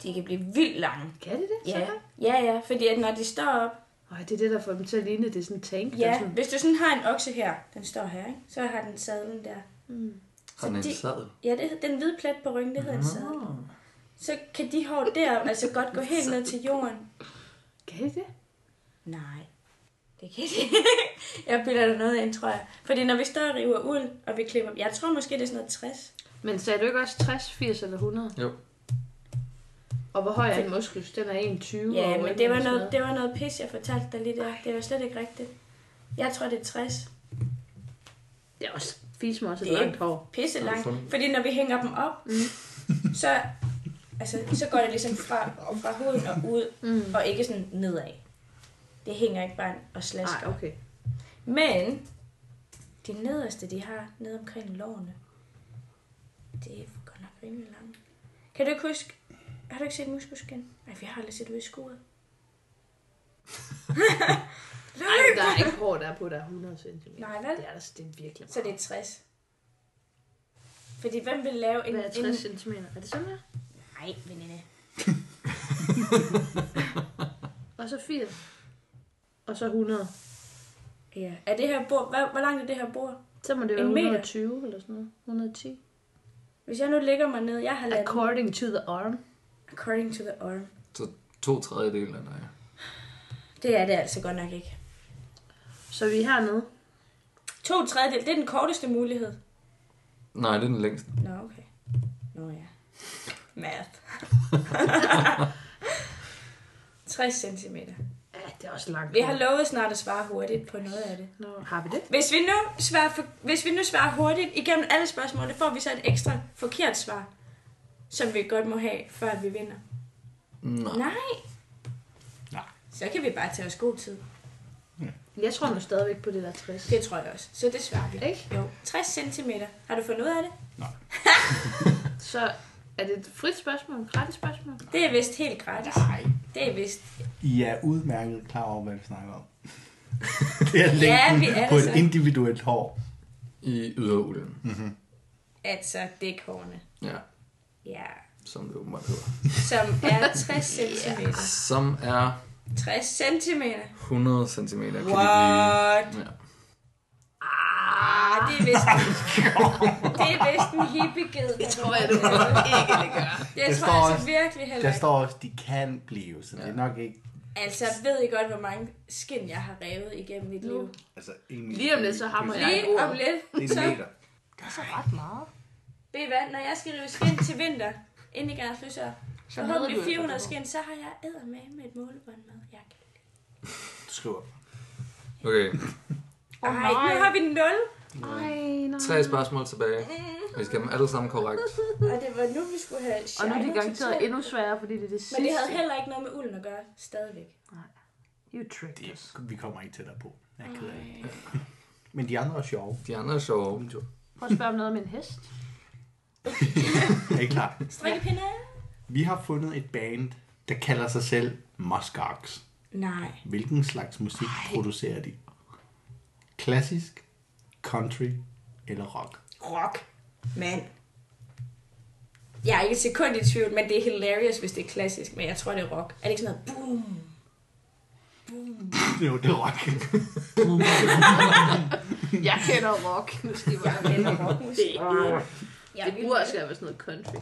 Speaker 2: De kan blive vildt lange.
Speaker 5: Kan det det?
Speaker 2: Ja, ja, ja, fordi at når de står op,
Speaker 5: Nej, det er det, der får dem til at ligne, det er sådan en tank. der er
Speaker 2: ja,
Speaker 5: sådan,
Speaker 2: hvis du sådan har en okse her, den står her, ikke? så har den sadlen der.
Speaker 3: Har den en
Speaker 2: Så det- Hmm.
Speaker 3: sadel?
Speaker 2: Ja, det, den hvide plet på ryggen, det hedder en
Speaker 1: Mhm.
Speaker 2: sadel. Så kan de hår der altså godt gå helt ned til jorden.
Speaker 5: kan det det?
Speaker 2: Nej, det kan de ikke. Jeg bilder dig noget ind, tror jeg. Fordi når vi står og river uld, og vi klipper... Jeg tror måske, det er sådan noget 60.
Speaker 5: Men sagde du ikke også 60, 80 eller 100?
Speaker 3: Jo.
Speaker 5: Og hvor høj er en muskus? Den er 1,20.
Speaker 2: Ja,
Speaker 5: og
Speaker 2: men det var,
Speaker 5: sådan
Speaker 2: noget, det var noget pis, jeg fortalte dig lige der. Det var slet ikke rigtigt. Jeg tror, det er 60.
Speaker 5: Det er også fis mig også et
Speaker 2: Det er
Speaker 5: langt hår.
Speaker 2: Pisse
Speaker 3: Har du
Speaker 2: langt.
Speaker 3: fundet-
Speaker 2: Fordi når vi hænger dem op, så, altså, så går det ligesom fra, fra huden og ud,
Speaker 5: Mm.
Speaker 2: og ikke sådan nedad. Det hænger ikke bare og slasker.
Speaker 5: Nej,
Speaker 2: Ej, okay.
Speaker 5: okay.
Speaker 2: Men de nederste, de har nede omkring lårene, det er godt nok rimelig langt. Kan du ikke huske, har du ikke set muskelskin? Nej, vi har aldrig set ud i skuret.
Speaker 5: Ej, der er ikke hår, der er på, der er 100 cm.
Speaker 2: Nej, vel?
Speaker 5: Det er, der, det er virkelig
Speaker 2: Så det er 60. Fordi hvem vil lave en...
Speaker 5: Hvad er 60
Speaker 2: en...
Speaker 5: cm? Er det sådan her?
Speaker 2: Nej, veninde.
Speaker 5: Og så 80. Og så 100.
Speaker 2: Ja. Er det her bord... Hvor, hvor langt er det her bord?
Speaker 5: Så må det være
Speaker 2: En meter.
Speaker 5: 120 eller sådan noget. 110.
Speaker 2: Hvis jeg nu ligger mig ned, jeg har lavet...
Speaker 5: According to the arm.
Speaker 2: According to the arm.
Speaker 3: Så to tredjedel af dig.
Speaker 2: Det er det altså godt nok ikke.
Speaker 5: Så vi er hernede.
Speaker 2: To tredjedel, det er den korteste mulighed.
Speaker 3: Nej, det er den længste.
Speaker 2: Nå, okay. Nå ja. Math. 60 cm.
Speaker 5: Ja, det er også langt.
Speaker 2: Vi har lovet snart at svare hurtigt på noget af det.
Speaker 5: Nå, har vi det?
Speaker 2: Hvis vi nu svarer, for, hvis vi nu svarer hurtigt igennem alle spørgsmålene, får vi så et ekstra forkert svar, som vi godt må have, før vi vinder.
Speaker 3: Nej.
Speaker 2: Nej.
Speaker 1: Nej.
Speaker 2: Så kan vi bare tage os god tid.
Speaker 5: Jeg tror nu stadigvæk på det der 60.
Speaker 2: Det tror jeg også. Så det svarer vi.
Speaker 5: Ikke?
Speaker 2: Jo. 60 cm. Har du fundet ud af det?
Speaker 5: Så er det et frit spørgsmål? Et gratis spørgsmål?
Speaker 2: Det er vist helt gratis.
Speaker 1: Nej.
Speaker 2: Det er vist.
Speaker 1: I er udmærket klar over, hvad vi snakker om. det er
Speaker 2: Ja,
Speaker 1: længden
Speaker 2: vi er
Speaker 1: på
Speaker 2: det
Speaker 1: et
Speaker 2: så.
Speaker 1: individuelt hår.
Speaker 3: I yderolien.
Speaker 2: Hmm. Altså dækhårene.
Speaker 3: Ja,
Speaker 2: Ja.
Speaker 3: som det åbenbart hedder.
Speaker 2: Som er 60 cm.
Speaker 3: Som er
Speaker 2: 60 cm.
Speaker 3: 100 cm.
Speaker 2: What?
Speaker 3: Ja.
Speaker 2: Ah, det er vist Det er vist en hippieged. Det tror jeg, du ikke, det gør.
Speaker 1: Der
Speaker 2: Jeg tror
Speaker 1: står
Speaker 2: altså
Speaker 1: også-
Speaker 2: virkelig heller
Speaker 1: Der
Speaker 2: ikke.
Speaker 1: står også, de kan blive, så det er nok ikke...
Speaker 2: Altså, ved I godt, hvor mange skin, jeg har revet igennem mit liv?
Speaker 1: Altså, en meter.
Speaker 5: Lige om lidt, så hammer jeg.
Speaker 2: Lige om lidt.
Speaker 1: Det er en meter.
Speaker 2: Ved I hvad, når jeg skal rive skin til vinter, ind i Gerns Lysør, så
Speaker 4: hader du
Speaker 2: håber
Speaker 4: ikke,
Speaker 2: 400
Speaker 4: at du
Speaker 2: skin, så har jeg æder med med et målebånd med. Jeg kan.
Speaker 1: Du skriver.
Speaker 3: Okay,
Speaker 2: Ej, nu har vi 0.
Speaker 5: Ej, nej.
Speaker 3: tre spørgsmål tilbage. Og I skal have dem alle sammen korrekt.
Speaker 2: Og det var nu, vi skulle have
Speaker 5: Og nu
Speaker 2: Shiloh
Speaker 5: er de
Speaker 2: til
Speaker 5: garanteret
Speaker 2: tæer.
Speaker 5: endnu sværere, fordi det er det sidste.
Speaker 2: Men det havde heller ikke noget med ulden at gøre, stadigvæk.
Speaker 5: You tricked us.
Speaker 1: Det, vi kommer ikke tættere på. Jeg er ked af det. Men de andre er sjove.
Speaker 3: De andre er sjove.
Speaker 1: Min tur.
Speaker 5: Prøv at spørge om noget med en hest.
Speaker 1: Er I klar?
Speaker 2: Strikkepinde?
Speaker 1: Vi har fundet et band, der kalder sig selv Muskox.
Speaker 2: Nej.
Speaker 1: Hvilken slags musik producerer de? Klassisk, country eller rock?
Speaker 2: Rock. Mand. Jeg er ikke et sekund i tvivl, men det er hilarious, hvis det er klassisk, men jeg tror, det er rock. Er det ikke sådan noget boom?
Speaker 1: Jo, det er rock.
Speaker 5: Jeg kender rock. Nu skal I bare
Speaker 2: Eller rockmusik? Jeg
Speaker 5: Det
Speaker 2: vil
Speaker 5: burde også være sådan noget country.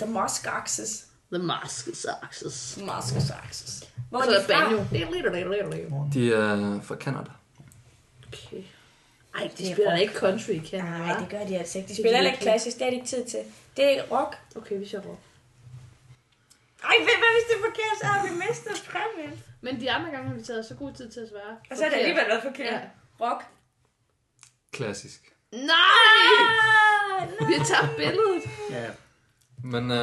Speaker 2: The Musk Axis.
Speaker 5: The Mask is Axis.
Speaker 2: Musk Axis. Hvor
Speaker 5: Og
Speaker 2: er
Speaker 5: så
Speaker 2: de
Speaker 5: er
Speaker 2: fra?
Speaker 5: banjo.
Speaker 3: De er fra Canada.
Speaker 5: Okay. Ej, de
Speaker 2: Det er
Speaker 5: spiller da
Speaker 2: rock.
Speaker 5: ikke country, kan jeg
Speaker 2: Nej, det gør de altså ikke. De
Speaker 5: Det
Speaker 2: spiller
Speaker 5: er
Speaker 2: heller ikke
Speaker 5: virkelig.
Speaker 2: klassisk, det har de ikke tid til. Det er rock.
Speaker 5: Okay, vi ser rock.
Speaker 2: Ej, hvad hvad hvis det er forkert, så har vi mistet præmien.
Speaker 5: Men de andre gange har vi taget så god tid til at svare.
Speaker 2: Og så er det alligevel noget forkert.
Speaker 5: Ja.
Speaker 2: Rock.
Speaker 3: Klassisk.
Speaker 5: Nej!
Speaker 2: Ah, nej.
Speaker 5: Vi tager billedet.
Speaker 1: Ja,
Speaker 3: Men øh,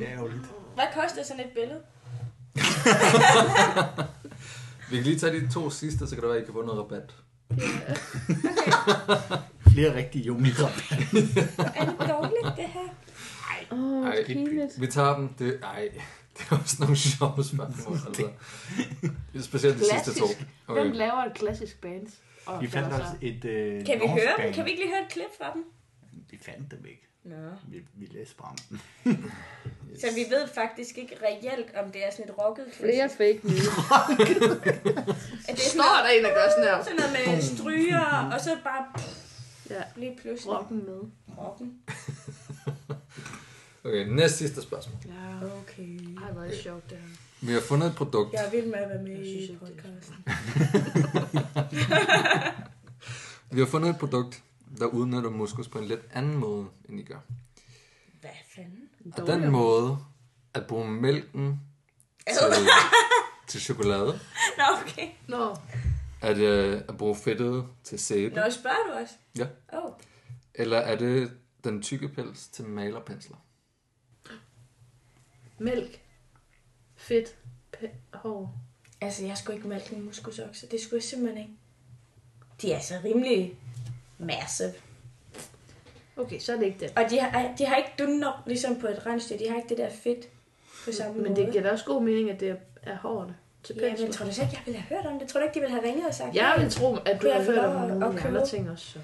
Speaker 1: det er ærgerligt.
Speaker 2: Hvad koster sådan et billede?
Speaker 3: vi kan lige tage de to sidste, så kan det være, at I kan få noget rabat.
Speaker 1: Flere rigtige jo mindre.
Speaker 2: Er det dårligt, det her?
Speaker 5: Åh,
Speaker 3: Ej,
Speaker 5: pinligt.
Speaker 3: Vi tager dem. Det, ej, det er også nogle sjove spørgsmål. Altså. Specielt de sidste to.
Speaker 5: Klassisk. Hvem
Speaker 3: Okay.
Speaker 5: laver et klassisk band? Og
Speaker 1: Vi fandt
Speaker 5: kalder
Speaker 1: også
Speaker 5: sig-
Speaker 1: et øh,
Speaker 2: Kan vi
Speaker 1: norsk
Speaker 2: høre dem?
Speaker 1: band.
Speaker 2: Kan vi ikke lige høre et klip fra dem?
Speaker 1: Vi fandt dem ikke.
Speaker 2: Nå.
Speaker 1: Vi, vi læste bare om dem.
Speaker 2: Så vi ved faktisk ikke reelt, om det er sådan et rocket klip.
Speaker 5: Flere fake news.
Speaker 2: Er det sådan
Speaker 5: Står
Speaker 2: noget,
Speaker 5: der en, der gør sådan her?
Speaker 2: sådan noget med stryger, og så bare
Speaker 5: Ja.
Speaker 2: lige pludselig
Speaker 5: Rocken med.
Speaker 2: rocken?
Speaker 3: okay, næst sidste spørgsmål.
Speaker 5: Ja.
Speaker 2: Okay.
Speaker 5: Ej, hvor er det sjovt, det her.
Speaker 3: Vi har fundet et produkt.
Speaker 2: Jeg vil med at være med
Speaker 5: Jeg synes
Speaker 2: i
Speaker 5: ikke, det er-
Speaker 2: podcasten.
Speaker 3: Vi har fundet et produkt, der udnytter muskus på en lidt anden måde, end I gør.
Speaker 2: Hvad fanden?
Speaker 3: Og den måde at bruge mælken til, til chokolade,
Speaker 2: Nå, okay.
Speaker 5: Nå,
Speaker 3: Er det øh, at bruge fedtet til sæbe?
Speaker 2: Nå, spørger du også?
Speaker 3: Ja.
Speaker 2: Åh, oh,
Speaker 3: Eller er det den tykke pels til malerpensler?
Speaker 5: Mælk. Fedt. P- hår.
Speaker 2: altså jeg skulle ikke mælke min muskusokse. Det skulle jeg simpelthen ikke. De er så rimelig massive.
Speaker 5: Okay, så er det ikke det.
Speaker 2: Og de har, ej, de har ikke dunner, ligesom på et rensdyr. De har ikke det der fedt på samme
Speaker 5: Men
Speaker 2: måde.
Speaker 5: det giver da også god mening, at det er- er hårene til
Speaker 2: Ja, men
Speaker 5: pensler.
Speaker 2: tror du så ikke, jeg ville have hørt om det? Tror du ikke, de ville have ringet og sagt?
Speaker 5: Jeg
Speaker 2: "Hey,
Speaker 5: vil tro, at du
Speaker 2: Kunne jeg
Speaker 5: har
Speaker 2: få
Speaker 5: hørt
Speaker 2: lov
Speaker 5: om
Speaker 2: at-
Speaker 5: nogle
Speaker 2: at købe?
Speaker 5: andre ting også. Så.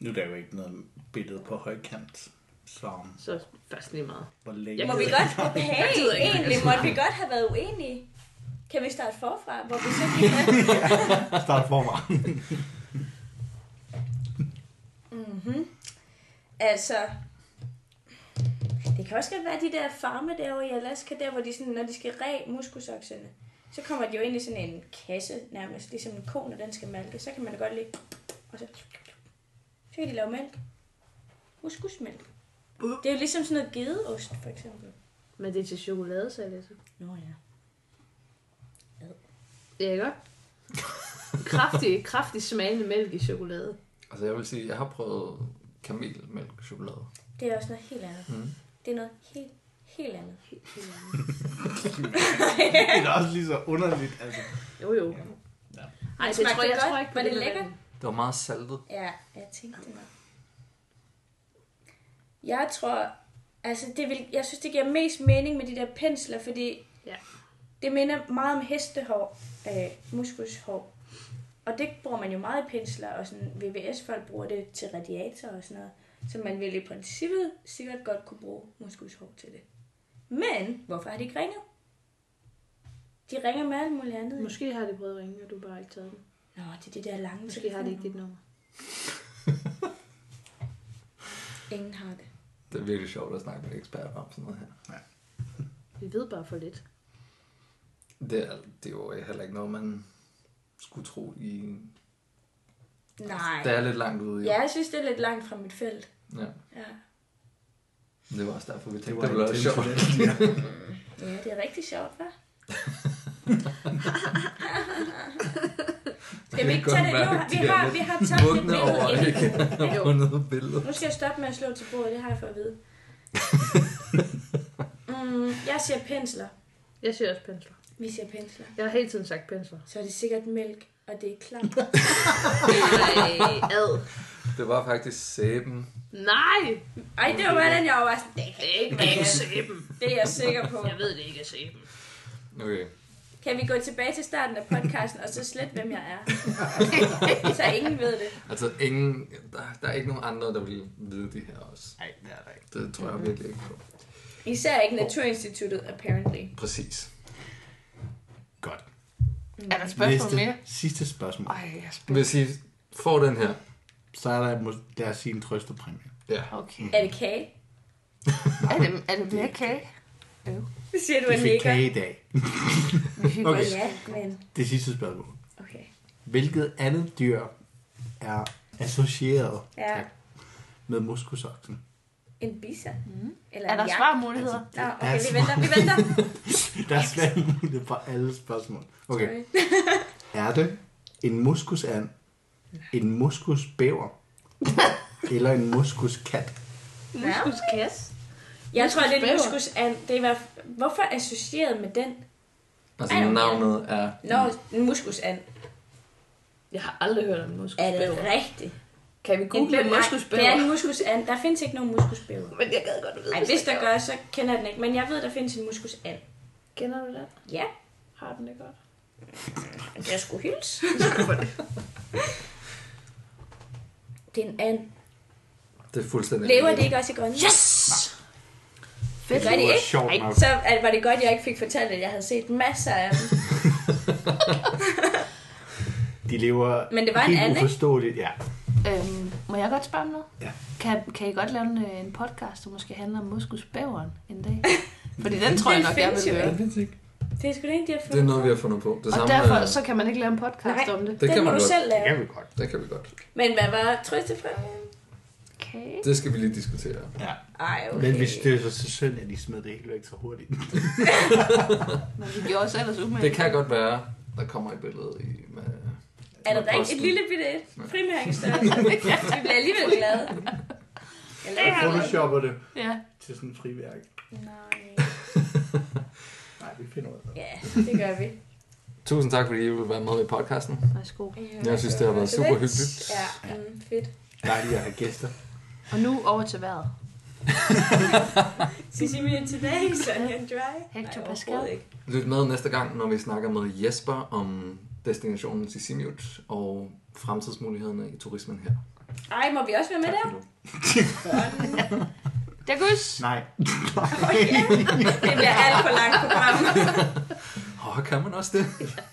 Speaker 1: Nu er der jo ikke noget billede på højkant, så
Speaker 5: så faktisk lige meget.
Speaker 1: hvor længe...
Speaker 5: Jeg
Speaker 2: Må vi
Speaker 5: gider
Speaker 2: godt... Hey,
Speaker 5: Jeg gider ikke.
Speaker 2: egentlig måtte vi godt have været uenige. Kan vi starte forfra, hvor vi så gik med?
Speaker 1: Start forfra.
Speaker 2: mm-hmm. Altså... Det kan også godt være, at de der farme derovre i Alaska, der hvor de sådan, når de skal re muskusokserne, så kommer de jo ind i sådan en kasse nærmest, ligesom en ko, når den skal malke. Så kan man da godt lige... Og så, så kan de lave mælk. Muskusmælk. Det er jo ligesom sådan noget gedeost, for eksempel.
Speaker 5: Men det er til chokoladesalat.
Speaker 2: Nå ja.
Speaker 5: Ja, ikke godt? kraftig, kraftig smagende mælk i chokolade.
Speaker 3: Altså jeg vil sige, jeg har prøvet kamelmælk chokolade.
Speaker 2: Det er også noget helt andet.
Speaker 3: Mm.
Speaker 2: Det er noget helt, helt andet.
Speaker 1: det er også lige så underligt, altså.
Speaker 5: Jo, jo.
Speaker 1: Ja.
Speaker 5: Ej,
Speaker 2: Men
Speaker 5: det
Speaker 2: smagte
Speaker 5: tror
Speaker 2: det
Speaker 5: jeg, jeg
Speaker 2: godt?
Speaker 5: tror ikke på
Speaker 2: Var det
Speaker 5: med
Speaker 2: lækkert?
Speaker 5: mælken.
Speaker 3: Det var meget saltet.
Speaker 2: Ja, jeg tænkte det nok. Jeg tror, altså det vil, jeg synes, det giver mest mening med de der pensler, fordi
Speaker 5: Ja.
Speaker 2: det minder meget om hestehår, øh, muskushår. Og det bruger man jo meget i pensler, og sådan VVS-folk bruger det til radiatorer og sådan noget. Så man ville i princippet sikkert godt kunne bruge muskushår til det. Men hvorfor har de ikke ringet? De ringer med alt muligt andet. Måske.
Speaker 5: Måske har de prøvet at ringe, og du har bare ikke taget den.
Speaker 2: Nå, det er de der lange
Speaker 5: Måske har de ikke dit nummer.
Speaker 2: Ingen har det.
Speaker 3: Det er virkelig sjovt at snakke med eksperter om sådan noget her.
Speaker 5: Vi ved bare for lidt.
Speaker 3: Det er, det er jo heller ikke noget, man skulle tro i...
Speaker 2: Nej.
Speaker 3: Det er lidt langt ude.
Speaker 2: Ja, jeg synes, det er lidt langt fra mit felt.
Speaker 3: ja.
Speaker 2: Ja,
Speaker 3: Det var også derfor, vi tænkte,
Speaker 1: var
Speaker 3: det, det
Speaker 1: en
Speaker 3: var også sjovt.
Speaker 1: tilfælde.
Speaker 2: ja det er rigtig sjovt, hva'? Skal vi
Speaker 3: kan
Speaker 2: ikke
Speaker 3: godt
Speaker 2: tage det? Jo,
Speaker 3: mærke, de
Speaker 2: vi
Speaker 3: er
Speaker 2: har,
Speaker 3: lidt
Speaker 2: vi har tabt et
Speaker 3: vågne over,
Speaker 2: billede
Speaker 3: ikke?
Speaker 2: inden.
Speaker 3: Der var noget billede.
Speaker 2: Nu skal jeg stoppe med at slå til bordet, det har jeg fået at vide. Mm, jeg siger pensler.
Speaker 5: Jeg siger også pensler.
Speaker 2: Vi siger pensler.
Speaker 5: Jeg har hele tiden sagt pensler.
Speaker 2: Så er det sikkert mælk, og det er klart.
Speaker 5: Nej, ad.
Speaker 3: Det var faktisk sæben.
Speaker 5: Nej!
Speaker 2: Ej, det var hvordan jeg var bare sådan, det kan ikke være det.
Speaker 5: sæben.
Speaker 2: Det er jeg sikker på.
Speaker 5: Jeg ved det ikke er sæben.
Speaker 3: Okay.
Speaker 2: Kan vi gå tilbage til starten af podcasten, og så slet, hvem jeg er? Så ingen ved det.
Speaker 3: Altså ingen... Der, der er ikke nogen andre, der vil vide det her også.
Speaker 1: Nej, det er der ikke.
Speaker 3: Det tror jeg virkelig ikke på.
Speaker 2: Især ikke Naturinstituttet, apparently.
Speaker 3: Præcis.
Speaker 1: Godt.
Speaker 5: Er der spørgsmål
Speaker 1: Næste,
Speaker 5: mere?
Speaker 1: sidste spørgsmål.
Speaker 5: Ej, jeg
Speaker 3: Jeg vil sige, får den her.
Speaker 1: Så er der, mås- lad os sige, en trøsterpræmie.
Speaker 3: Ja.
Speaker 5: Okay.
Speaker 2: Er det kage?
Speaker 5: Er det, er det mere kage?
Speaker 2: Det siger du,
Speaker 1: Vi
Speaker 2: at
Speaker 1: fik
Speaker 2: nikker.
Speaker 1: kage i dag. Okay,
Speaker 2: Ja, men...
Speaker 1: det sidste spørgsmål.
Speaker 2: Okay.
Speaker 1: Hvilket andet dyr er associeret
Speaker 2: Ja,
Speaker 1: med muskusoksen?
Speaker 2: en bisa. Mm. Eller
Speaker 7: Er der
Speaker 2: en jak.
Speaker 7: svarmuligheder?
Speaker 2: Nå, okay, vi venter, vi venter.
Speaker 1: Der er svært mulighed for alle spørgsmål. Okay.
Speaker 2: Sorry.
Speaker 1: Er det en muskusand, en muskusbæver eller en muskuskat?
Speaker 7: Altså,
Speaker 5: Muskus kasse.
Speaker 2: Jeg tror, det er en
Speaker 5: Muskusbæver.
Speaker 2: muskus. Det er i hvert fald- Hvorfor associeret med den?
Speaker 3: Altså
Speaker 2: Ej, okay.
Speaker 3: navnet er...
Speaker 2: Nå, en muskusand.
Speaker 5: Jeg har aldrig hørt om
Speaker 2: Er det
Speaker 5: muskusbæver.
Speaker 2: rigtigt?
Speaker 5: Kan vi google
Speaker 2: bæver-
Speaker 5: en
Speaker 2: Nej, Det er
Speaker 5: muskusbæver?
Speaker 2: en muskusand. Der findes ikke nogen muskusbæver.
Speaker 5: Men jeg gad godt vide,
Speaker 2: Nej, hvis der gør, så kender jeg den ikke. Men jeg ved, der findes en muskusand.
Speaker 5: Kender du det?
Speaker 2: Ja,
Speaker 5: Har den det godt?
Speaker 2: jeg skulle hilse. Det er en and.
Speaker 3: Det er fuldstændig...
Speaker 2: Lever det ikke også i Grønland? Yes!
Speaker 1: Det
Speaker 2: Fedt. Gør det
Speaker 1: var
Speaker 2: ikke?
Speaker 1: sjovt nok.
Speaker 2: Så at, var det godt, jeg ikke fik fortalt, at jeg havde set masser af dem.
Speaker 1: De lever
Speaker 2: Men det var en
Speaker 1: helt
Speaker 2: anden, ikke?
Speaker 1: uforståeligt. Ja.
Speaker 7: Øhm, må jeg godt spørge om noget?
Speaker 1: Ja.
Speaker 7: Kan, kan I godt lave en, øh, en podcast, der måske handler om muskusbæveren en dag? Fordi den tror jeg
Speaker 2: Den
Speaker 7: nok, jeg
Speaker 2: findes
Speaker 7: vil
Speaker 2: jo
Speaker 7: høre.
Speaker 3: Det findes ikke.
Speaker 2: Det er sgu da en, de har
Speaker 3: Det
Speaker 2: fundet.
Speaker 3: er noget, vi har fundet på. Det
Speaker 7: Og
Speaker 3: samme,
Speaker 7: derfor
Speaker 3: øh,
Speaker 7: så kan man ikke lave en podcast
Speaker 2: Nej.
Speaker 7: om det.
Speaker 3: Det
Speaker 2: Den
Speaker 3: kan
Speaker 2: må
Speaker 3: man
Speaker 2: du
Speaker 3: godt.
Speaker 2: selv
Speaker 1: Det kan
Speaker 2: lave.
Speaker 1: vi godt.
Speaker 3: Det kan vi godt.
Speaker 2: Men hvad var trøstepræmien?
Speaker 7: Okay.
Speaker 3: Det skal vi lige diskutere.
Speaker 1: Ja.
Speaker 2: Ej, okay.
Speaker 1: Men hvis det er så, så synd, at de smed det hele væk så hurtigt.
Speaker 7: Men vi gjorde os ellers umage.
Speaker 3: Det kan godt være, der kommer et billede i, med,
Speaker 2: Er der
Speaker 3: med
Speaker 2: da ikke
Speaker 3: posten.
Speaker 2: et lille bitte et?
Speaker 3: Nej.
Speaker 2: Frimærkestørrelse. Vi bliver alligevel glade. Jeg
Speaker 1: Jeg
Speaker 2: laver det.
Speaker 1: photoshopper det
Speaker 7: Ja.
Speaker 1: til sådan en friværk.
Speaker 2: Nej.
Speaker 1: Nej, vi finder ud af det.
Speaker 2: Ja, det gør vi.
Speaker 3: Tusind tak, fordi I vil være med i podcasten.
Speaker 7: Værsgo.
Speaker 3: Jeg synes, det har været super hyggeligt.
Speaker 2: Ja, mm, fedt.
Speaker 1: Dejligt at have gæster.
Speaker 7: Og nu over til vejret.
Speaker 2: Sissi Mia tilbage, Sonja Dry.
Speaker 7: Hector
Speaker 2: Nej,
Speaker 7: Pascal.
Speaker 2: overhovedet ikke.
Speaker 3: Lyt med næste gang, når vi snakker med Jesper om destinationen til Simiut og fremtidsmulighederne i turismen her.
Speaker 2: Ej, må vi også være med der?
Speaker 3: for nu.
Speaker 7: Dagus!
Speaker 1: Nej.
Speaker 2: Det bliver alt for langt program.
Speaker 3: Åh, kan man også det?